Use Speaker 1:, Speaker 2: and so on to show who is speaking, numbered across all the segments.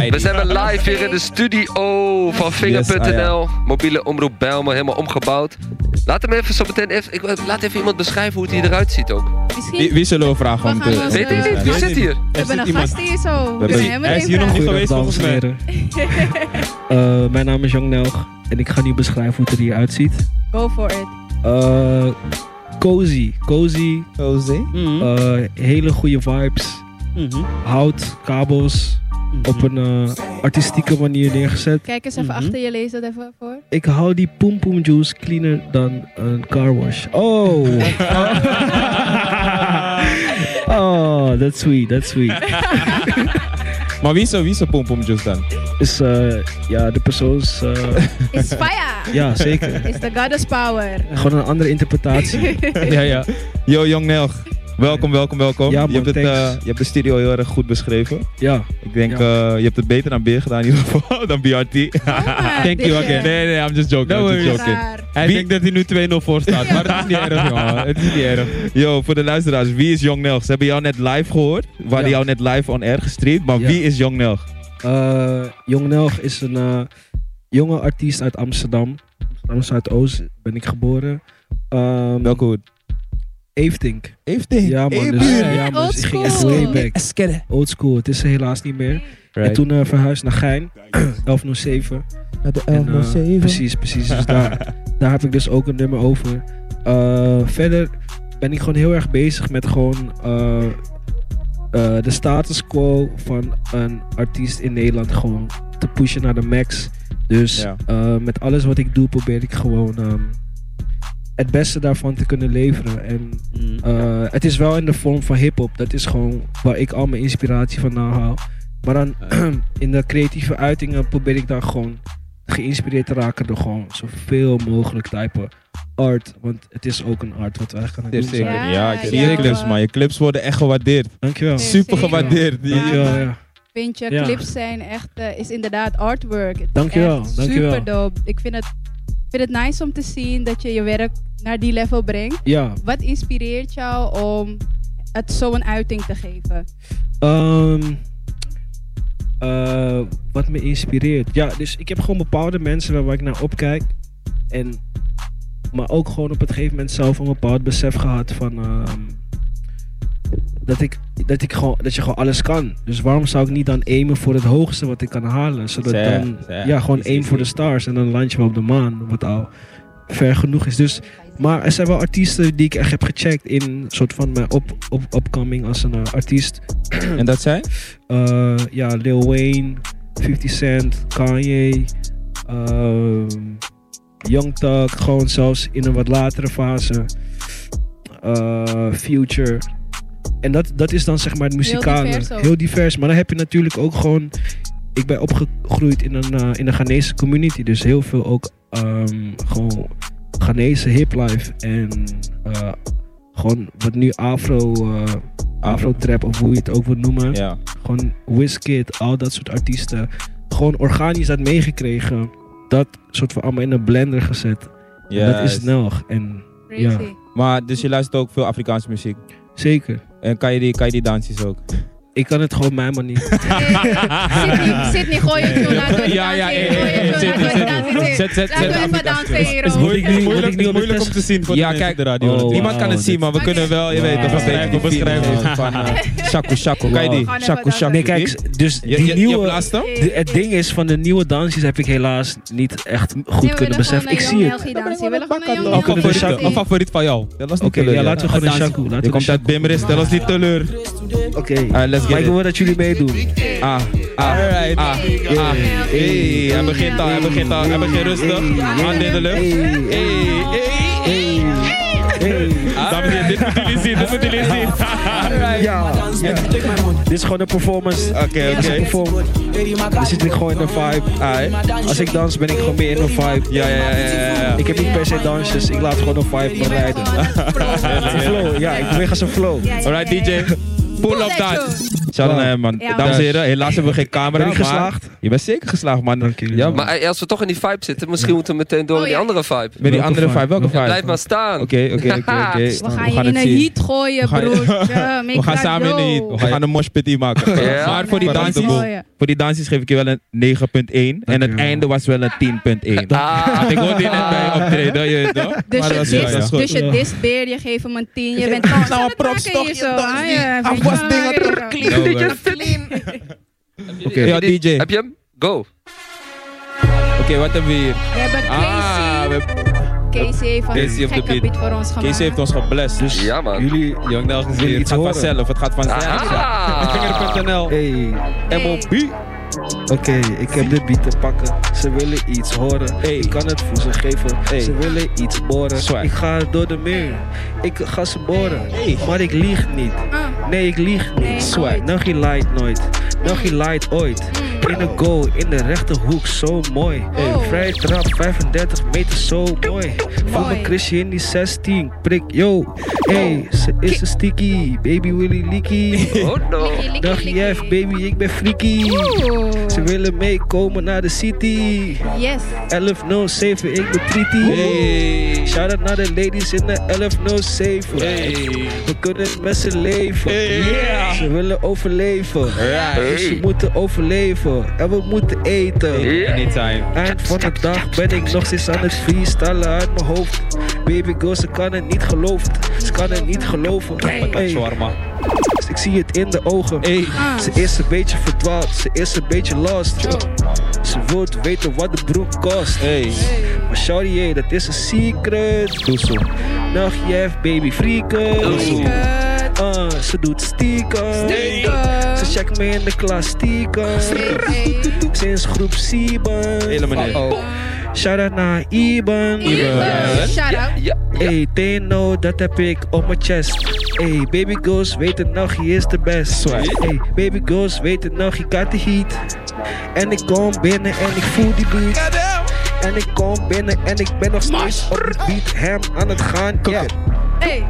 Speaker 1: Heidi.
Speaker 2: We zijn weer live hier in de studio van Vinger.nl.
Speaker 1: Yes, ah
Speaker 2: Mobiele omroep Bijlmer, helemaal omgebouwd. Laat hem even zo meteen even, ik, eh, laat even iemand beschrijven hoe hij eruit ziet ook.
Speaker 3: Misschien.
Speaker 1: Wie, wie zullen we vragen om
Speaker 3: We gaan
Speaker 1: te...
Speaker 3: ons,
Speaker 2: Weet
Speaker 3: eh,
Speaker 2: ik niet, wie
Speaker 3: Weet
Speaker 2: zit hier?
Speaker 3: we hebben een gast hier zo. We
Speaker 1: hebben-
Speaker 3: zijn hem
Speaker 4: Hij is
Speaker 3: even
Speaker 4: hier nog
Speaker 3: vragen.
Speaker 4: niet geweest
Speaker 5: Goedendag,
Speaker 4: volgens mij.
Speaker 5: dames en heren. Eh, mijn naam is Jong Nelg en ik ga nu beschrijven hoe het er hier uitziet.
Speaker 3: Go for it.
Speaker 5: Eh, cozy, cozy,
Speaker 4: Cozy.
Speaker 1: Mhm,
Speaker 5: eh, hele goede vibes,
Speaker 1: mhm,
Speaker 5: hout, kabels,
Speaker 1: mhm.
Speaker 5: op een eh, artistieke manier neergezet.
Speaker 3: Kijk eens even
Speaker 1: Mhm.
Speaker 3: achter je, lees dat even voor.
Speaker 5: Ik hou die poem poem juice cleaner dan een car wash. Oh! oh, that's sweet, that's sweet.
Speaker 1: Maar wie is zo- wie is zo Pom Pom Juice dan?
Speaker 5: Is, eh, ja, de persoon is, eh,
Speaker 3: Is fire.
Speaker 5: ja, zeker.
Speaker 3: Is the goddess power.
Speaker 5: Gewoon een andere interpretatie.
Speaker 1: ja, ja. Yo, Jong Nelg. Welkom, welkom, welkom.
Speaker 5: Ja,
Speaker 1: je,
Speaker 5: man,
Speaker 1: hebt het,
Speaker 5: thanks.
Speaker 1: eh, je hebt de studio heel erg goed beschreven.
Speaker 5: Ja.
Speaker 1: Ik denk,
Speaker 5: Ja.
Speaker 1: eh, je hebt het beter dan Beer gedaan in ieder geval, dan BRT.
Speaker 3: Thank
Speaker 1: Nee, nee, I'm just joking.
Speaker 4: No
Speaker 1: I'm just joking.
Speaker 4: Hij
Speaker 1: Wie-
Speaker 4: denkt dat hij nu 2-0 voor staat, maar het is niet erg, jongen. Het is niet erg.
Speaker 1: Yo, voor de luisteraars, wie is Jong Nelg? Ze hebben jou net live gehoord. We hadden
Speaker 5: Ja.
Speaker 1: jou net live on air gestreamd. Maar
Speaker 5: Ja.
Speaker 1: wie is Jong Nelg?
Speaker 5: Eh, Jong Nelg is een eh, jonge artiest uit Amsterdam. Amsterdam Zuidoost ben ik geboren. Ehm
Speaker 1: Welke hoed?
Speaker 5: Eftink.
Speaker 1: Efting.
Speaker 5: Ja man, dus,
Speaker 3: Eftink.
Speaker 5: ja, man, dus ik ging echt
Speaker 3: Oldschool.
Speaker 5: way back. Old school, het is er helaas niet meer. En toen eh, verhuisd naar Gein, 1107.
Speaker 4: de
Speaker 5: En, eh, Precies, precies. Dus daar, daar heb ik dus ook een nummer over. Eh, verder ben ik gewoon heel erg bezig met gewoon eh, eh, de status quo van een artiest in Nederland gewoon te pushen naar de max. Dus
Speaker 1: Ja.
Speaker 5: eh, met alles wat ik doe probeer ik gewoon ehm, het beste daarvan te kunnen leveren. En eh, het is wel in de vorm van hip-hop. Dat is gewoon waar ik al mijn inspiratie vandaan haal. Maar dan in de creatieve uitingen probeer ik dan gewoon geïnspireerd te raken door gewoon zoveel mogelijk type art. Want het is ook een art wat we eigenlijk aan het doen
Speaker 1: Zeker.
Speaker 5: zijn.
Speaker 1: Ja,
Speaker 3: Ja,
Speaker 1: ik
Speaker 3: ja,
Speaker 1: zie je
Speaker 3: ja.
Speaker 1: clips, man. Je clips worden echt gewaardeerd.
Speaker 5: Dankjewel.
Speaker 3: Zeker.
Speaker 1: Super gewaardeerd.
Speaker 3: Ja.
Speaker 5: Dankjewel, ja.
Speaker 3: Vind je,
Speaker 5: Ja.
Speaker 3: clips zijn echt, eh, is inderdaad artwork. Het is
Speaker 5: Dankjewel,
Speaker 3: echt
Speaker 5: dankjewel.
Speaker 3: Super dope. Ik vind het, ik vind het nice om te zien dat je je werk naar die level brengt.
Speaker 5: Ja,
Speaker 3: Wat inspireert jou om het zo'n uiting te geven?
Speaker 5: Ehm, eh, wat me inspireert. Ja, dus ik heb gewoon bepaalde mensen waar, waar ik naar opkijk. En, maar ook gewoon op het gegeven moment zelf een bepaald besef gehad van. ehm, dat, ik, dat, ik gewoon, dat je gewoon alles kan. Dus waarom zou ik niet dan aimen voor het hoogste wat ik kan halen? Zodat
Speaker 1: Zeg,
Speaker 5: dan.
Speaker 1: zeg.
Speaker 5: Ja, gewoon
Speaker 1: Is-
Speaker 5: aim
Speaker 1: is-
Speaker 5: voor de stars. En dan land je wel op de maan. Wat al ver genoeg is. Dus maar er zijn wel artiesten die ik echt heb gecheckt in soort van mijn op, op, opkoming als een eh, artiest.
Speaker 1: En dat zijn?
Speaker 5: Eh, ja, Lil Wayne, 50 Cent, Kanye, ehm, Young Thug, gewoon zelfs in een wat latere fase. eh, Future. En dat, dat is dan zeg maar het muzikale.
Speaker 3: divers ook.
Speaker 5: Heel divers. Maar dan heb je natuurlijk ook gewoon... Ik ben opgegroeid in een, eh, in een Ghanese community. Dus heel veel ook ehm, gewoon Ghanese hiplife. En eh, gewoon wat nu afro... eh, Afro-trap of hoe je het ook wilt noemen.
Speaker 1: Ja.
Speaker 5: Gewoon Wizkid, al dat soort artiesten. Gewoon organisch dat meegekregen. Dat soort van allemaal in een blender gezet. En Dat is nou-
Speaker 1: Yes.
Speaker 5: Nelg. En
Speaker 3: Crazy.
Speaker 5: Ja.
Speaker 1: Maar dus je luistert ook veel Afrikaanse muziek.
Speaker 5: zeker,
Speaker 1: En kan je die, kan je die dansjes ook?
Speaker 5: ik kan het gewoon op mijn manier.
Speaker 4: Ah.
Speaker 3: Sydney, Sydney, gooi het zo. Laten we het
Speaker 4: Ja, ja,
Speaker 3: dansen.
Speaker 4: eh, eh,
Speaker 3: Gooi het zo,
Speaker 4: Sydney,
Speaker 3: laten we het
Speaker 4: Sydney.
Speaker 3: dansen.
Speaker 4: Zet, zet,
Speaker 3: Laten
Speaker 4: zet.
Speaker 3: we even
Speaker 4: Afrika's
Speaker 3: dansen hier.
Speaker 4: Het is
Speaker 3: hoor.
Speaker 4: moeilijk, het is moeilijk, het is moeilijk om te zien voor
Speaker 1: Ja,
Speaker 4: de mensen
Speaker 1: kijk.
Speaker 4: die de radio
Speaker 5: Oh,
Speaker 4: horen.
Speaker 1: Niemand
Speaker 5: wauw,
Speaker 1: kan het zien, maar we
Speaker 3: dit-
Speaker 1: kunnen wel, je
Speaker 5: Wauw.
Speaker 1: weet, toch een beetje die
Speaker 4: Beschrijven,
Speaker 1: feeling
Speaker 4: beschrijven.
Speaker 1: van eh, Shaku Shaku. Kan je die?
Speaker 5: Wauw.
Speaker 3: Gewoon even
Speaker 1: Shaku
Speaker 3: dansen.
Speaker 1: Shaku.
Speaker 5: Nee, kijk, dus
Speaker 1: Je, je,
Speaker 5: die
Speaker 1: je
Speaker 5: nieuwe...
Speaker 1: blaast hem?
Speaker 5: de- het ding is, van de nieuwe dansjes heb ik helaas niet echt goed
Speaker 3: Nee, we
Speaker 5: kunnen
Speaker 3: willen
Speaker 5: beseffen. Ik
Speaker 3: gewoon
Speaker 5: zie
Speaker 3: een
Speaker 5: het.
Speaker 3: Young Nelsie dansen. We willen gewoon een Young
Speaker 1: Een
Speaker 5: Welke
Speaker 3: Nelsie
Speaker 5: favoriete-
Speaker 1: favoriet,
Speaker 3: dansen.
Speaker 1: een favoriet van jou. Tel ons niet
Speaker 5: Oké,
Speaker 1: teleur,
Speaker 5: ja, laten we gewoon een Shaku.
Speaker 1: Je
Speaker 5: Laten we
Speaker 1: komt uit Bimris, tel ons niet teleur.
Speaker 5: Oké,
Speaker 1: Ah, let's
Speaker 5: maar
Speaker 1: get
Speaker 5: ik
Speaker 1: it.
Speaker 5: wil dat jullie meedoen.
Speaker 1: Ah, ah,
Speaker 4: Alright.
Speaker 1: ah. Ah, hey, hij begint al, hij begint al, hij begint rustig. Hand in de lucht. Hey, hey, hey. Dames en heren, dit moeten jullie zien, dit moeten jullie zien.
Speaker 5: Ja, dit is gewoon een performance.
Speaker 1: Oké,
Speaker 5: Als ik
Speaker 1: oké.
Speaker 5: perform, dan zit ik gewoon in de vibe. Als ik dans, ben ik gewoon meer in de vibe.
Speaker 1: Ja, ja, ja, ja, ja.
Speaker 5: Ik heb niet per se dansjes, ik laat gewoon een vibe
Speaker 3: Je bent
Speaker 5: bereiden.
Speaker 3: gewoon een pro.
Speaker 5: Flow, ja, ik beweeg als een flow.
Speaker 3: Ja, ja,
Speaker 1: Alright,
Speaker 3: ja, ja.
Speaker 1: DJ. Pull up
Speaker 3: that
Speaker 1: that.
Speaker 4: Shout out naar hem, man.
Speaker 3: Ja, man.
Speaker 4: Dames en heren, helaas hebben we geen camera.
Speaker 5: Ben ik
Speaker 4: maar-
Speaker 5: geslaagd?
Speaker 4: Je bent zeker geslaagd, man.
Speaker 5: Dank jullie
Speaker 4: Ja,
Speaker 5: wel.
Speaker 4: man.
Speaker 2: Maar eh, als we toch in die vibe zitten, misschien moeten we meteen door
Speaker 3: Oh,
Speaker 2: naar die
Speaker 3: ja.
Speaker 2: andere vibe.
Speaker 4: Met die
Speaker 5: Welke
Speaker 4: andere
Speaker 5: vibe?
Speaker 4: vibe, welke
Speaker 5: Welke
Speaker 4: vibe?
Speaker 2: Blijf maar staan.
Speaker 4: Oké, oké, oké, oké.
Speaker 3: We gaan je
Speaker 4: het
Speaker 3: in een
Speaker 4: zien.
Speaker 3: heat gooien,
Speaker 4: We gaan-
Speaker 3: broertje.
Speaker 4: We gaan samen in de heat. We gaan een moshpit hier maken.
Speaker 2: Ja.
Speaker 4: Maar voor die
Speaker 3: Parade
Speaker 4: dansies,
Speaker 3: mooie.
Speaker 4: voor die dansies geef ik je wel een 9.1. En het
Speaker 5: Dankjewel.
Speaker 4: einde was wel een 10.1.
Speaker 2: Ah,
Speaker 4: Ik hoorde je net bij je optreden, je weet toch?
Speaker 3: Dus
Speaker 4: Maar
Speaker 3: je
Speaker 4: dat is-
Speaker 5: dis-
Speaker 4: ja, dat is
Speaker 3: dist,
Speaker 4: goed.
Speaker 3: dus je
Speaker 5: Ja.
Speaker 3: dist Beer, je geeft hem een tien. Je bent toch
Speaker 4: nou
Speaker 3: aan
Speaker 4: een
Speaker 3: het
Speaker 4: props,
Speaker 3: maken
Speaker 4: toch?
Speaker 3: hier
Speaker 4: Je
Speaker 3: zo.
Speaker 4: danst
Speaker 3: Ah,
Speaker 4: niet.
Speaker 3: ja,
Speaker 4: Afwas
Speaker 3: vind je-
Speaker 4: dingen,
Speaker 3: ah, ja, ja.
Speaker 4: Ja, man.
Speaker 2: Oké,
Speaker 4: Ja, DJ.
Speaker 2: Heb je hem? Go.
Speaker 4: Oké, wat hebben we hier?
Speaker 3: We hebben
Speaker 4: Ah,
Speaker 3: Casey.
Speaker 4: we-
Speaker 3: Casey heeft
Speaker 4: Casey
Speaker 3: een
Speaker 4: op de
Speaker 3: gekke
Speaker 4: beat.
Speaker 3: beat voor ons gemaakt.
Speaker 4: Casey heeft ons geblest. Dus
Speaker 2: Ja, man.
Speaker 4: jullie, Young Nel
Speaker 5: Wil je
Speaker 4: gezien, het
Speaker 5: iets
Speaker 4: gaat
Speaker 5: horen?
Speaker 4: vanzelf. Het gaat vanzelf.
Speaker 2: Ah.
Speaker 4: Vinger.nl,
Speaker 5: Hey,
Speaker 4: MOB.
Speaker 5: oké, ik heb de beat te pakken. Ze willen iets horen.
Speaker 4: Hey.
Speaker 5: Ik kan het voor ze geven.
Speaker 4: Hey.
Speaker 5: Ze willen iets boren.
Speaker 4: Swag.
Speaker 5: Ik ga door de muur. Ik ga ze boren.
Speaker 4: Hey.
Speaker 5: Maar ik lieg niet.
Speaker 3: Ah,
Speaker 5: Nee, ik lieg niet.
Speaker 3: Nee,
Speaker 4: Swag.
Speaker 3: nooit. Mm.
Speaker 5: Nog je light nooit. Nog je light ooit. In de goal, in de rechterhoek, zo mooi.
Speaker 3: Oh.
Speaker 5: Vrij trap, 35 meter, zo mooi. Voel me Chrisje in die 16, prik, yo. Hey, ze is een sticky, baby willy leaky.
Speaker 2: Oh no.
Speaker 3: Likkie, likkie,
Speaker 5: Dag
Speaker 3: likkie.
Speaker 5: Jeff, baby, ik ben freaky.
Speaker 3: Oeh.
Speaker 5: Ze willen meekomen naar de city.
Speaker 3: Yes.
Speaker 5: 1107, ik ben treaty.
Speaker 4: Hey.
Speaker 5: Shout out naar de ladies in de 1107.
Speaker 4: Hey.
Speaker 5: We kunnen met ze leven.
Speaker 4: Hey. Yeah.
Speaker 5: Ze willen overleven.
Speaker 4: Alright.
Speaker 5: Dus we
Speaker 2: Hey.
Speaker 5: moeten overleven en we moeten eten.
Speaker 2: Ja.
Speaker 4: Anytime.
Speaker 5: Eind van de dag ben ik nog steeds aan het freestylen uit mijn hoofd. Baby girl, ze kan het niet geloven. Ze kan het niet geloven.
Speaker 3: Hey.
Speaker 5: Hey,
Speaker 4: Shawarma.
Speaker 5: ik zie het in de ogen.
Speaker 4: Hey.
Speaker 3: Ah.
Speaker 5: Ze is een beetje verdwaald, ze is een beetje lost.
Speaker 3: Oh.
Speaker 5: Ze wilt weten wat de broek kost.
Speaker 4: Hey.
Speaker 3: Hey.
Speaker 5: Maar sorry, hey, dat is een secret.
Speaker 4: Doe zo.
Speaker 5: Nog jef, baby freaken.
Speaker 2: Doezoe.
Speaker 3: Kut.
Speaker 5: Ah, ze doet stiekem.
Speaker 3: Stikken.
Speaker 5: Ze checkt me in de klas stiekem.
Speaker 3: Hey.
Speaker 5: Sinds groep 7.
Speaker 4: Helemaal niet.
Speaker 2: Oh.
Speaker 5: Shout out naar Iban.
Speaker 4: eh, Iben.
Speaker 3: Shout out.
Speaker 2: Ja.
Speaker 5: Hey, Teno, dat heb ik op mijn chest. Hey, baby girls weten nog, je is de best.
Speaker 4: Swag.
Speaker 5: Hey, baby girls weten nog, je got the heat. En ik kom binnen en ik voel die beat. En ik kom binnen en ik ben nog steeds op de beat. Hem aan het gaan, ja.
Speaker 3: Hey.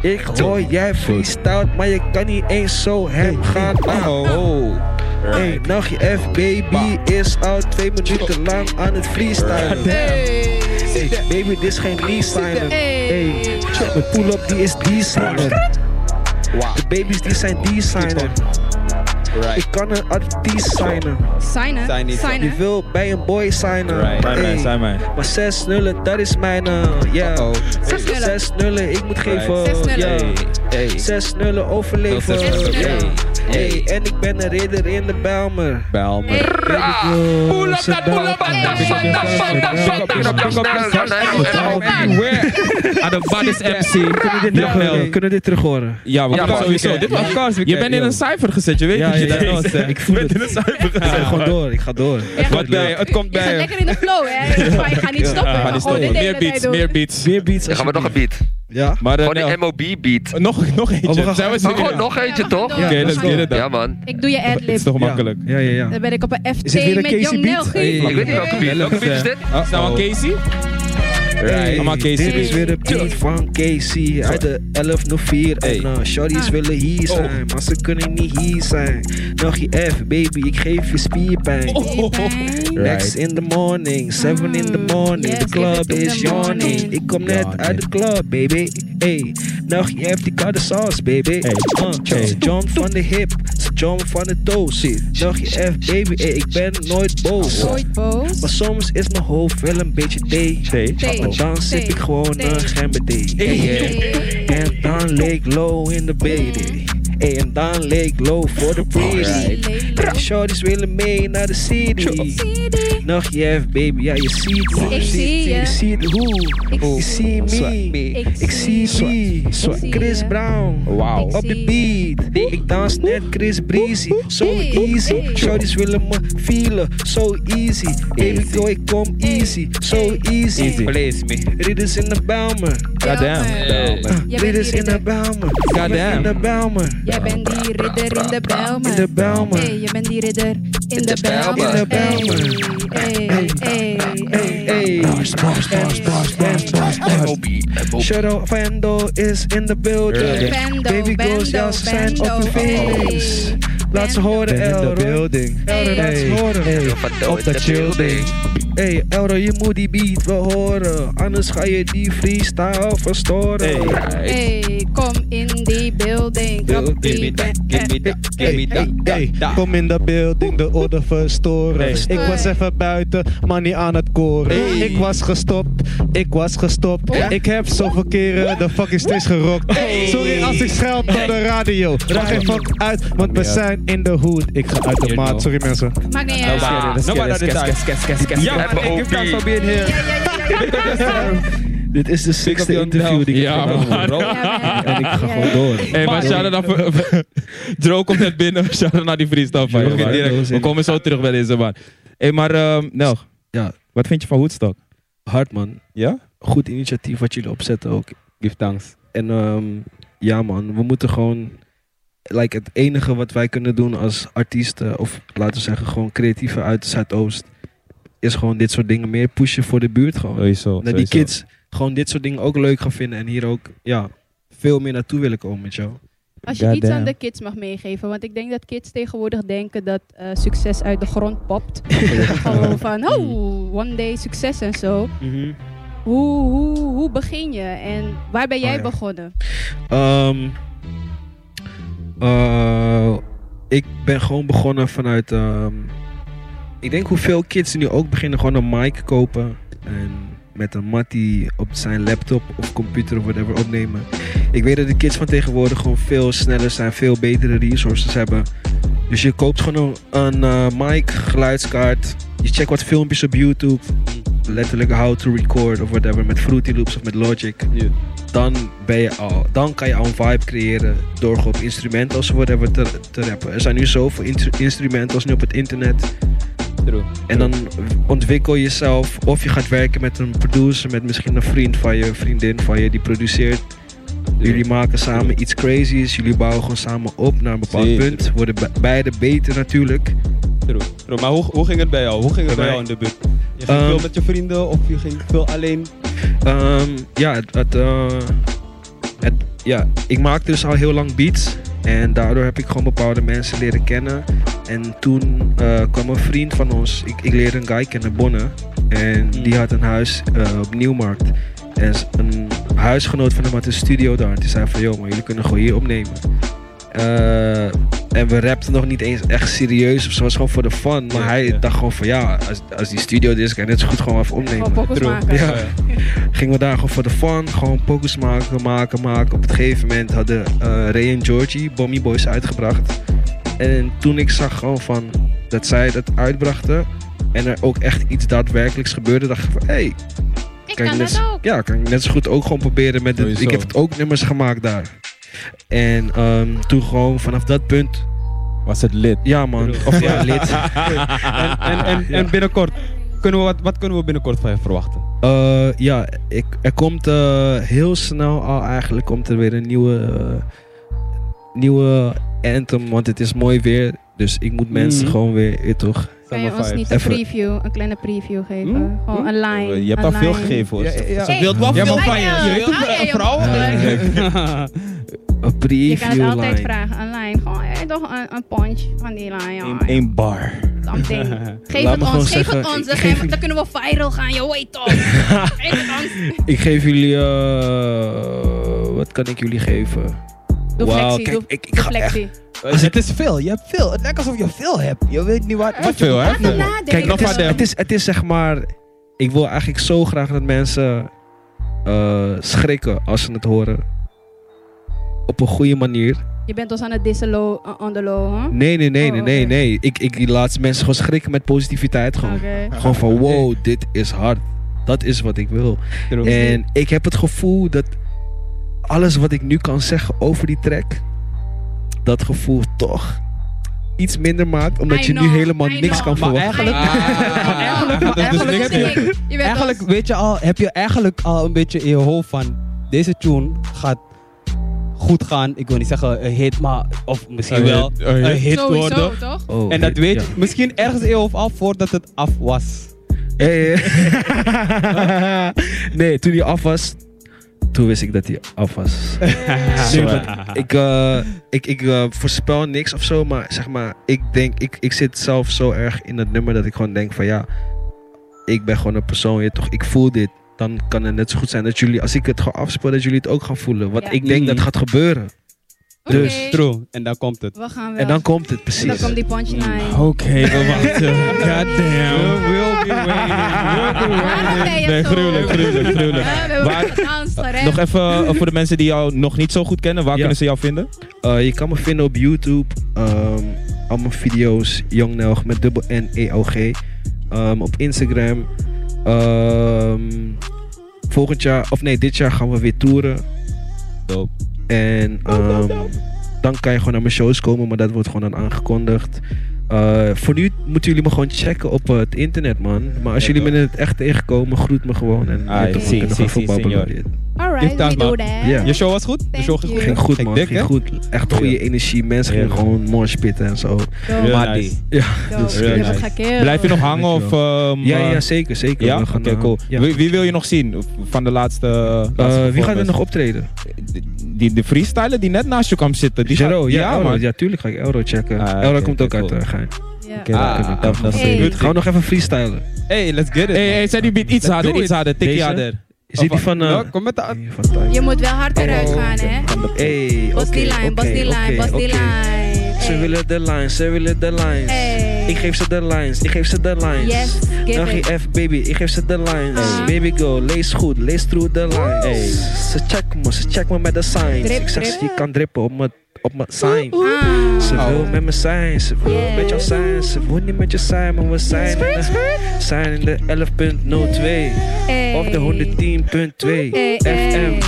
Speaker 5: Ik hoor jij freestyle, maar je kan niet eens zo hem gaan. Ah.
Speaker 4: Oh. oh.
Speaker 5: Hey, nachtje F, baby is al twee minuten lang aan het freestylen.
Speaker 3: Hey.
Speaker 5: Hey, baby, dit is geen re-signer. Hey,
Speaker 3: Hey.
Speaker 5: mijn pull-up die is designer.
Speaker 4: Wow.
Speaker 5: De baby's die zijn designer.
Speaker 4: Right.
Speaker 5: Ik kan een artiest signen.
Speaker 4: Sign
Speaker 3: Signen.
Speaker 4: niet.
Speaker 5: Je
Speaker 3: Signen.
Speaker 5: wil bij een boy signen.
Speaker 4: Right. Zijn
Speaker 5: Hey,
Speaker 4: mij, zijn mij.
Speaker 5: Maar zes nullen, dat is mijn. eh, Ja.
Speaker 4: Oh.
Speaker 3: Zes nullen.
Speaker 5: Zes nullen, ik moet geven.
Speaker 3: Zes nullen.
Speaker 5: ja.
Speaker 4: Hey. Hey.
Speaker 5: Zes nullen overleven.
Speaker 4: Zes
Speaker 3: nullen.
Speaker 5: Ja.
Speaker 4: Hey.
Speaker 5: Hey, en ik ben een ridder in de Bijlmer.
Speaker 4: Bel me.
Speaker 3: Hey.
Speaker 2: Ah.
Speaker 5: Pull
Speaker 2: up that pull up, that pull up, that pull up,
Speaker 4: Aan Ah, de Baddest MC.
Speaker 5: Kunnen we dit terug horen? Kunnen we dit terug horen?
Speaker 4: Ja, we
Speaker 2: Ja,
Speaker 4: gaan
Speaker 2: maar-
Speaker 4: sowieso. Dit was
Speaker 5: Ja.
Speaker 4: Je bent in een cijfer gezet, je weet
Speaker 5: Ja,
Speaker 4: dat je
Speaker 5: ja, ja.
Speaker 4: dat was. hè.
Speaker 5: Ik voel
Speaker 4: Je bent
Speaker 5: het.
Speaker 4: in een cijfer gezet.
Speaker 5: Ik ga gewoon door, ik ga door.
Speaker 3: Ja,
Speaker 4: Wat bij, het komt
Speaker 3: Je gaat
Speaker 4: bij.
Speaker 3: lekker in de flow, hè? Maar je gaat niet stoppen.
Speaker 4: Ja,
Speaker 3: Je
Speaker 4: ga
Speaker 3: gaat
Speaker 4: niet
Speaker 3: gewoon
Speaker 4: stoppen.
Speaker 3: dit de
Speaker 4: Meer
Speaker 3: hele tijd
Speaker 4: beats,
Speaker 3: doen.
Speaker 4: meer beats.
Speaker 5: Weer beats.
Speaker 2: Dan gaan we nog een beat.
Speaker 5: Ja.
Speaker 4: Maar eh,
Speaker 2: Gewoon
Speaker 4: nou,
Speaker 2: die MOB
Speaker 1: Oh,
Speaker 2: beat.
Speaker 4: nog, nog eentje.
Speaker 5: gaan-
Speaker 4: Zijn we
Speaker 2: Maar
Speaker 4: zeker?
Speaker 2: gewoon
Speaker 4: Oké,
Speaker 2: nog eentje, toch?
Speaker 3: Ja,
Speaker 4: let's
Speaker 5: dat is
Speaker 4: get it
Speaker 2: Ja,
Speaker 4: dan.
Speaker 2: man.
Speaker 3: Ik doe je
Speaker 4: Het is
Speaker 3: ad-lib.
Speaker 4: toch makkelijk.
Speaker 5: Ja, ja, ja.
Speaker 3: Dan ben ik op een
Speaker 5: Is dit weer
Speaker 3: FT
Speaker 5: een
Speaker 3: met
Speaker 5: Casey
Speaker 3: Young
Speaker 5: beat?
Speaker 3: Nelgie.
Speaker 2: Ik weet niet welke beat. Welke beat is dit?
Speaker 4: Oh, Is nou aan Casey?
Speaker 5: Hey,
Speaker 4: Allemaal Casey
Speaker 5: Dit
Speaker 4: beats.
Speaker 5: is weer een beat van Casey uit de 1104.
Speaker 4: Hey.
Speaker 5: En uh,
Speaker 3: Ah.
Speaker 5: shorties willen hier
Speaker 4: Oh.
Speaker 5: zijn, maar ze kunnen niet hier zijn. Nog je F, baby, ik geef je spierpijn.
Speaker 4: Oh.
Speaker 5: Next in the morning, 7 in the morning,
Speaker 3: Ah. Yes,
Speaker 5: the club
Speaker 3: if it's in
Speaker 5: is
Speaker 3: the morning.
Speaker 5: yawning. Ik kom net
Speaker 4: Ja,
Speaker 5: uit de club, baby. Hey, nog je hebt die koude sauce, baby.
Speaker 4: Hey.
Speaker 5: Uh,
Speaker 4: Hey.
Speaker 5: Ze jump van de hip, ze jump van de toe. Nog je F, baby, hey, ik ben nooit boos.
Speaker 3: Nooit boos.
Speaker 5: Maar soms is mijn hoofd wel een beetje thee.
Speaker 4: Nee.
Speaker 3: Thee.
Speaker 5: Maar dan zit ik gewoon
Speaker 4: eh,
Speaker 5: eh,
Speaker 3: Thee.
Speaker 5: een gemberthee.
Speaker 4: Hey.
Speaker 5: En dan leek low in de baby. Hey, en dan leek low voor de baby. Shorties willen mee naar de city. Nog je F, baby, ja, je ziet me.
Speaker 3: Ik zie je.
Speaker 5: Je ziet hoe.
Speaker 3: Ik
Speaker 5: Je
Speaker 3: zie
Speaker 5: ziet me. Ik zie me.
Speaker 3: zie
Speaker 5: Chris
Speaker 3: je.
Speaker 5: Brown.
Speaker 4: Wauw.
Speaker 5: Op de beat. Ik dans net Chris Breezy. Zo
Speaker 3: Hey.
Speaker 5: easy.
Speaker 3: Hey.
Speaker 5: Shorties willen me feelen. Zo easy. Baby
Speaker 4: Easy.
Speaker 5: girl, ik kom easy. Zo
Speaker 3: Hey.
Speaker 5: easy.
Speaker 4: Easy.
Speaker 2: Blaze me.
Speaker 5: Ridders in de Bijlmer.
Speaker 1: Goddamn.
Speaker 3: Belmer. Jij bent
Speaker 5: Dit is
Speaker 3: die
Speaker 5: in de
Speaker 3: ridder.
Speaker 5: Belmer.
Speaker 1: Goddamn.
Speaker 5: In de Belmer.
Speaker 3: Jij bent die ridder in de
Speaker 5: In de
Speaker 3: Belmer.
Speaker 5: Belmer.
Speaker 3: Hey, je bent die ridder in
Speaker 2: de
Speaker 3: de
Speaker 2: Bijlmer.
Speaker 3: Bijlmer.
Speaker 5: In de
Speaker 3: Hey, hey, hey, hey.
Speaker 5: Bars, bars, bars, bars, bars, bars, bars. Shadow Fendo is in de building.
Speaker 3: Fendo,
Speaker 5: Baby girls,
Speaker 3: Bendo,
Speaker 5: ja, ze zijn
Speaker 3: Bendo,
Speaker 5: op je
Speaker 3: hey.
Speaker 5: face. Laat ze horen,
Speaker 4: Ben in de
Speaker 5: Elro.
Speaker 4: building.
Speaker 5: Elro, laat ze
Speaker 4: Hey.
Speaker 5: horen. Hey,
Speaker 2: Op
Speaker 4: dat chill ding.
Speaker 5: hey, Elro, je moet die beat wel horen. Anders ga je die freestyle verstoren.
Speaker 3: Hey, kom in die building. Krap die ben-
Speaker 4: Hey, hey, hey, Kom in de building, de orde verstoren. Ik was even buiten, maar niet aan het koren.
Speaker 1: Hey.
Speaker 4: Ik was gestopt, ik was gestopt.
Speaker 3: Ja?
Speaker 4: Ik heb zoveel keren de fucking steeds gerokt. Sorry als ik scheld op de radio. Maar geen fuck uit, want we zijn in de hood. Ik ga uit de maat, sorry mensen.
Speaker 3: Maakt niet uit.
Speaker 1: Wow.
Speaker 4: Let's get it, let's get it, let's get it, let's get it.
Speaker 1: Ja, man, thank you guys for being here.
Speaker 5: Dit is de zesde
Speaker 4: Jan
Speaker 5: interview die ik
Speaker 1: Ja,
Speaker 5: gedaan heb.
Speaker 1: man.
Speaker 3: Ja,
Speaker 5: En ik ga
Speaker 3: Ja.
Speaker 5: gewoon door.
Speaker 1: Hé, maar shout out naar... Dro komt net binnen. Shout out naar die freestyle van je,
Speaker 5: Joe,
Speaker 1: man.
Speaker 5: man.
Speaker 1: Direct. We komen zo terug bij deze man. Hé, maar ehm, Nel.
Speaker 5: Ja.
Speaker 1: Wat vind je van Woodstock?
Speaker 5: Hard, man.
Speaker 1: Ja?
Speaker 5: Goed initiatief wat jullie opzetten ook.
Speaker 1: Give thanks.
Speaker 5: En ehm, ja man, we moeten gewoon... Like, het enige wat wij kunnen doen als artiesten... of laten we zeggen gewoon creatieven uit de Zuidoost... is gewoon dit soort dingen meer pushen voor de buurt gewoon.
Speaker 1: Sowieso.
Speaker 5: dat die kids gewoon dit soort dingen ook leuk gaan vinden... en hier ook ja, veel meer naartoe willen komen met jou.
Speaker 3: Als je iets
Speaker 1: Goddamn.
Speaker 3: aan de kids mag meegeven. Want ik denk dat kids tegenwoordig denken dat eh, succes uit de grond popt. Gewoon van, oh, one day succes en zo. Hoe, hoe, hoe begin je? En waar ben jij
Speaker 5: Oh, ja.
Speaker 3: begonnen?
Speaker 5: Ehm, eh, ik ben gewoon begonnen vanuit. ehm, ik denk hoeveel kids nu ook beginnen gewoon een mic kopen. En met een mattie op zijn laptop of computer of whatever opnemen. Ik weet dat de kids van tegenwoordig gewoon veel sneller zijn, veel betere resources hebben. Dus je koopt gewoon een, een eh, mic, geluidskaart. Je checkt wat filmpjes op YouTube. Letterlijk how to record of whatever. Met Fruity Loops of met Logic dan, ben je al, dan kan je al een vibe creëren door gewoon op instrumenten als whatever te, te rappen. Er zijn nu zoveel instru- instrumenten als nu op het internet.
Speaker 1: True.
Speaker 5: En dan ontwikkel je jezelf of je gaat werken met een producer, met misschien een vriend van je, vriendin van je die produceert. Jullie maken samen iets crazies, jullie bouwen gewoon samen op naar een bepaald
Speaker 1: Zeker.
Speaker 5: punt. Worden be- beide beter natuurlijk.
Speaker 1: Bro, maar hoe, hoe ging het bij jou? Hoe ging het bij
Speaker 5: Bij
Speaker 1: jou in de buurt? Je ging
Speaker 5: Ehm,
Speaker 1: veel met je vrienden of je ging veel alleen?
Speaker 5: Ehm, ja, het, het, eh, het- ja, ik maak dus al heel lang beats. En daardoor heb ik gewoon bepaalde mensen leren kennen. En toen eh, kwam een vriend van ons. Ik, ik leerde een guy kennen, Bonne. En
Speaker 1: Hmm.
Speaker 5: die had een huis eh, op Nieuwmarkt. En s- een huisgenoot van hem had een studio daar. En die zei van, joh, maar jullie kunnen gewoon hier opnemen. Eh, en we rapten nog niet eens echt serieus of zo. Het was gewoon voor de fun. Maar
Speaker 1: Ja,
Speaker 5: hij
Speaker 1: ja.
Speaker 5: dacht gewoon van, ja, als, als die studio er is, kan je net zo goed gewoon even opnemen.
Speaker 3: Gewoon pokkels
Speaker 1: True.
Speaker 3: maken.
Speaker 5: Ja. Gingen we daar gewoon voor de fun, gewoon pokus maken, maken, maken. Op een gegeven moment hadden eh, Ray en Georgie Bommy Boys uitgebracht. En toen ik zag gewoon van dat zij dat uitbrachten en er ook echt iets daadwerkelijks gebeurde, dacht ik van hé, hey,
Speaker 3: Ik
Speaker 5: kan, ik
Speaker 3: kan
Speaker 5: net
Speaker 3: dat
Speaker 5: zo-
Speaker 3: ook.
Speaker 5: ja, kan ik net zo goed ook gewoon proberen met dit.
Speaker 1: Sowieso.
Speaker 5: Ik heb het ook nummers gemaakt daar. En ehm, toen gewoon vanaf dat punt,
Speaker 1: Was het lit?
Speaker 5: ja man, of ja, lid.
Speaker 1: en, en, en, en binnenkort, kunnen we wat, wat kunnen we binnenkort van je verwachten?
Speaker 5: Eh, ja, ik, er komt eh, heel snel al eigenlijk komt er weer een nieuwe, eh, nieuwe anthem, want het is mooi weer. Dus ik moet mensen
Speaker 1: Mhm.
Speaker 5: gewoon weer, eh, toch?
Speaker 3: Kan je ons niet een
Speaker 5: Even- Hm?
Speaker 3: preview, een kleine preview geven?
Speaker 1: Hmm?
Speaker 3: Gewoon een line.
Speaker 1: Je hebt
Speaker 3: een
Speaker 1: al veel
Speaker 3: line.
Speaker 1: gegeven hoor.
Speaker 3: Hey, wilt wel
Speaker 1: Ja,
Speaker 3: veel
Speaker 1: maar
Speaker 3: van je. Je weet
Speaker 1: het,
Speaker 3: het, vrouw.
Speaker 5: eh, Een
Speaker 3: Je kan het
Speaker 5: preview
Speaker 3: altijd
Speaker 5: line.
Speaker 3: vragen, een lijn. Gewoon eh, toch een, een punch van die lijn. ja.
Speaker 1: Eén bar.
Speaker 3: Something. Geef het
Speaker 5: Laat me
Speaker 3: ons,
Speaker 5: gewoon
Speaker 3: geef het
Speaker 5: zeggen,
Speaker 3: ons.
Speaker 5: ik
Speaker 3: Dan, gaan we-
Speaker 5: geef-
Speaker 3: dan kunnen we viral gaan, joh, weet toch. geef het ons.
Speaker 5: Ik geef jullie, eh, wat kan ik jullie geven?
Speaker 3: Doe
Speaker 5: Wauw,
Speaker 3: flexie,
Speaker 5: kijk,
Speaker 3: doe,
Speaker 5: ik- ik
Speaker 3: doe
Speaker 5: ga
Speaker 3: flexie.
Speaker 4: Het is veel, je hebt veel. Het lijkt alsof je veel hebt. Je weet niet wat, wat je
Speaker 1: veel, hè?
Speaker 3: Laat hem nadenken.
Speaker 5: Kijk, het is,
Speaker 1: maar
Speaker 5: het, is, het is zeg maar, ik wil eigenlijk zo graag dat mensen eh, schrikken als ze het horen. Op een goede manier.
Speaker 3: Je bent ons aan het dissen low, uh, on the low, hè?
Speaker 5: Nee, nee, nee,
Speaker 3: Oh,
Speaker 5: nee, nee,
Speaker 3: oké.
Speaker 5: nee. Ik, ik laat mensen gewoon schrikken met positiviteit. Gewoon,
Speaker 3: Oké.
Speaker 5: gewoon van wow, dit is hard. Dat is wat ik wil.
Speaker 1: True.
Speaker 5: En ik heb het gevoel dat alles wat ik nu kan zeggen over die track, dat gevoel toch iets minder maakt. Omdat
Speaker 3: I
Speaker 5: je nu
Speaker 3: know,
Speaker 5: helemaal
Speaker 3: I
Speaker 5: niks
Speaker 3: know.
Speaker 5: kan
Speaker 3: Maar
Speaker 5: verwachten.
Speaker 4: Eigenlijk-
Speaker 1: Ah,
Speaker 4: eigenlijk-
Speaker 1: dat is dus
Speaker 4: eigenlijk
Speaker 1: niks
Speaker 4: heb je-
Speaker 1: meer.
Speaker 3: Je bent
Speaker 4: Eigenlijk
Speaker 3: ons-
Speaker 4: weet je al, heb je eigenlijk al een beetje in je hoofd van
Speaker 6: deze tune gaat goed gaan. Ik wil niet zeggen een hit, maar of misschien wel een
Speaker 1: Een hit.
Speaker 6: hit
Speaker 3: Sowieso,
Speaker 6: worden.
Speaker 3: toch?
Speaker 5: Oh,
Speaker 6: En dat weet je misschien ergens eeuw of af voordat het af was.
Speaker 5: Hey. nee, toen hij af was, toen wist ik dat hij af was. Sorry, want ik eh, ik, ik eh, voorspel niks of zo, maar zeg maar, ik denk, ik, ik zit zelf zo erg in dat nummer dat ik gewoon denk van ja, ik ben gewoon een persoon, je, toch, ik voel dit. Dan kan het net zo goed zijn dat jullie, als ik het gewoon afspeel, dat jullie het ook gaan voelen. Wat
Speaker 3: Ja.
Speaker 5: ik denk dat
Speaker 6: Mhm.
Speaker 5: gaat gebeuren.
Speaker 3: Oké,
Speaker 5: Dus,
Speaker 6: True. En dan komt het.
Speaker 3: we gaan wel.
Speaker 5: En dan komt het
Speaker 3: En dan
Speaker 5: precies. Hm,
Speaker 3: komt die punchline.
Speaker 1: we wachten. Goddamn.
Speaker 6: We'll be
Speaker 3: Waarom ben je
Speaker 1: Nee,
Speaker 3: zo?
Speaker 1: gruwelijk, gruwelijk, gruwelijk.
Speaker 3: Ja, we hebben
Speaker 1: Waar-
Speaker 3: het gedanst, gerend.
Speaker 1: Nog even eh, voor de mensen die jou nog niet zo goed kennen, waar
Speaker 5: Ja.
Speaker 1: kunnen ze jou vinden?
Speaker 5: Eh, je kan me vinden op YouTube. ehm al mijn video's, Young Nelg met dubbel N E O G. Ehm, op Instagram. Ehm, volgend jaar, of nee, dit jaar gaan we weer toeren.
Speaker 1: Dope.
Speaker 5: En ehm, dan kan je gewoon naar mijn shows komen, maar dat wordt gewoon dan aangekondigd. Eh, voor nu moeten jullie me gewoon checken op eh, het internet, man. Maar als
Speaker 1: Ja,
Speaker 5: jullie me
Speaker 1: toch.
Speaker 5: in het echt tegenkomen, groet me gewoon. En
Speaker 1: Ah,
Speaker 5: we
Speaker 1: ja.
Speaker 3: Zie,
Speaker 5: kunnen
Speaker 6: zie, zie,
Speaker 5: gewoon verbabbelen.
Speaker 3: Alright, we
Speaker 6: Dit
Speaker 3: do
Speaker 6: kan,
Speaker 3: that.
Speaker 5: Ja.
Speaker 1: Je show was goed? Je
Speaker 3: Thank
Speaker 1: show ging
Speaker 3: you.
Speaker 1: goed?
Speaker 5: Ging goed,
Speaker 6: Ging
Speaker 5: man.
Speaker 6: dik,
Speaker 5: Ging
Speaker 6: hè?
Speaker 5: goed. Echt goede
Speaker 1: Ja.
Speaker 5: energie. Mensen gingen
Speaker 1: Ja.
Speaker 5: gewoon mooi spitten en zo.
Speaker 3: Dope,
Speaker 1: Heel
Speaker 6: Maar
Speaker 1: nice.
Speaker 6: die.
Speaker 3: dope.
Speaker 5: dus-
Speaker 3: Jullie hebben het
Speaker 1: nice.
Speaker 3: gekild.
Speaker 1: Blijf je nog hangen of... ehm,
Speaker 5: Ja,
Speaker 1: eh,
Speaker 5: ja, zeker, zeker.
Speaker 1: Ja?
Speaker 5: We
Speaker 1: Oké,
Speaker 5: gaan, eh,
Speaker 1: cool.
Speaker 5: ja.
Speaker 1: Wie, wie wil je nog zien van de laatste... laatste
Speaker 5: Eh, wie gaat er
Speaker 1: performance?
Speaker 5: nog optreden?
Speaker 1: Die, de freestyler die net naast je kwam zitten. Die
Speaker 5: Jero,
Speaker 1: gaat-
Speaker 5: ja, Elro.
Speaker 1: man.
Speaker 5: ja, tuurlijk ga ik Elro checken.
Speaker 1: Ah,
Speaker 5: Elro
Speaker 1: oké,
Speaker 5: komt
Speaker 1: oké,
Speaker 5: ook uit
Speaker 1: cool.
Speaker 5: eh, Gein.
Speaker 3: Ja.
Speaker 1: Oké, dan
Speaker 6: Ah,
Speaker 1: kunnen we-
Speaker 6: dat-
Speaker 1: dat is
Speaker 3: Hey.
Speaker 1: goed.
Speaker 5: Gaan we nog even freestylen?
Speaker 6: Hey, let's get it.
Speaker 1: Hey, hey, zet die beat iets harder,
Speaker 6: doe
Speaker 1: iets harder, tikkie
Speaker 5: Deze?
Speaker 1: harder.
Speaker 5: Is dit die van... eh,
Speaker 6: Nou, kom met de...
Speaker 5: die van Thijs?
Speaker 3: Je moet wel hard
Speaker 5: Oh,
Speaker 3: eruit gaan, hè?
Speaker 5: Hey, oké,
Speaker 3: Bas die lijn, bas
Speaker 5: oké,
Speaker 3: die lijn,
Speaker 5: oké,
Speaker 3: bas die
Speaker 5: oké.
Speaker 3: lijn.
Speaker 5: Ze
Speaker 3: Hey.
Speaker 5: willen de lines, ze willen de lines.
Speaker 3: Hey.
Speaker 5: Ik geef ze de lines, ik geef ze de lines.
Speaker 3: Yes, give it.
Speaker 5: LGF baby, ik geef ze de lines.
Speaker 3: Ah.
Speaker 5: Baby go, lees goed, lees through the lines. Ze check me, ze check me met de signs.
Speaker 3: Drip,
Speaker 5: ik zeg
Speaker 3: drip.
Speaker 5: ze, je kan drippen op mijn op mijn sign.
Speaker 3: Ah.
Speaker 5: Ze wil met me zijn, ze wil
Speaker 3: Yeah.
Speaker 5: met jou zijn, ze wil niet met je zijn, maar we zijn in de, zijn in de 11.02
Speaker 3: Hey.
Speaker 5: of de 110.2
Speaker 3: Hey,
Speaker 5: FM, uh,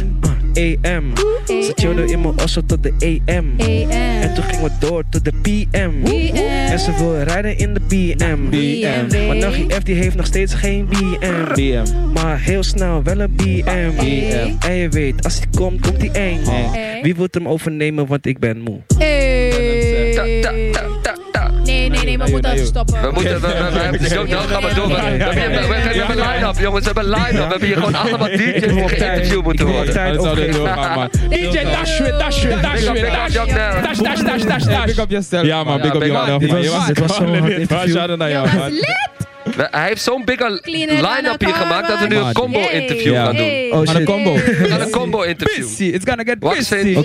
Speaker 5: AM.
Speaker 3: Hey,
Speaker 5: Ze chillde in mijn osso tot de AM.
Speaker 3: Hey, eh.
Speaker 5: En toen gingen we door tot de PM.
Speaker 3: PM.
Speaker 5: En ze wil rijden in de BM.
Speaker 3: BM.
Speaker 5: Maar Nagie F die heeft nog steeds geen BM. Maar heel snel wel een BM.
Speaker 3: Hey.
Speaker 5: En je weet, als hij komt, komt hij eng.
Speaker 3: Hey.
Speaker 5: Wie wil hem overnemen, want ik ben moe.
Speaker 3: Hey.
Speaker 2: Ta, ta, ta, ta, ta.
Speaker 3: Nee, nee, nee, we moeten even stoppen.
Speaker 2: We moeten, we, we, we, we, Yo, dan gaan we door. We, we, we, we- we- we- we hebben line-up, jongens. We hebben line-up. We hebben hier gewoon allemaal DJ's die geïnterviewd moeten
Speaker 1: Ja,
Speaker 2: worden.
Speaker 1: dat zou dit doorgaan, man.
Speaker 3: Thank you.
Speaker 2: Big up, big up, Jack Nel.
Speaker 1: Dash, dash, dash, dash,
Speaker 6: Hey,
Speaker 1: dash.
Speaker 6: pick up yourself.
Speaker 1: Ja, man,
Speaker 6: man.
Speaker 1: big up
Speaker 2: big
Speaker 1: jou
Speaker 2: up.
Speaker 1: nog,
Speaker 5: Dit
Speaker 1: man.
Speaker 5: was-
Speaker 1: Je was
Speaker 5: dit was zo'n hard
Speaker 1: dit was
Speaker 5: interview.
Speaker 1: shout-out naar
Speaker 3: Ja,
Speaker 1: jou,
Speaker 3: was
Speaker 1: man.
Speaker 3: lit.
Speaker 2: We- Hij heeft zo'n big a-
Speaker 3: Cleaner dan
Speaker 2: line-up hier
Speaker 3: elkaar,
Speaker 2: gemaakt dat we nu
Speaker 3: man.
Speaker 2: een
Speaker 1: Maat.
Speaker 2: combo-interview
Speaker 1: Hey.
Speaker 2: gaan doen.
Speaker 5: Oh,
Speaker 1: Maar een
Speaker 5: shit.
Speaker 1: combo.
Speaker 2: We gaan een combo-interview.
Speaker 6: It's gonna get
Speaker 2: Wacht
Speaker 6: pissy.
Speaker 2: even.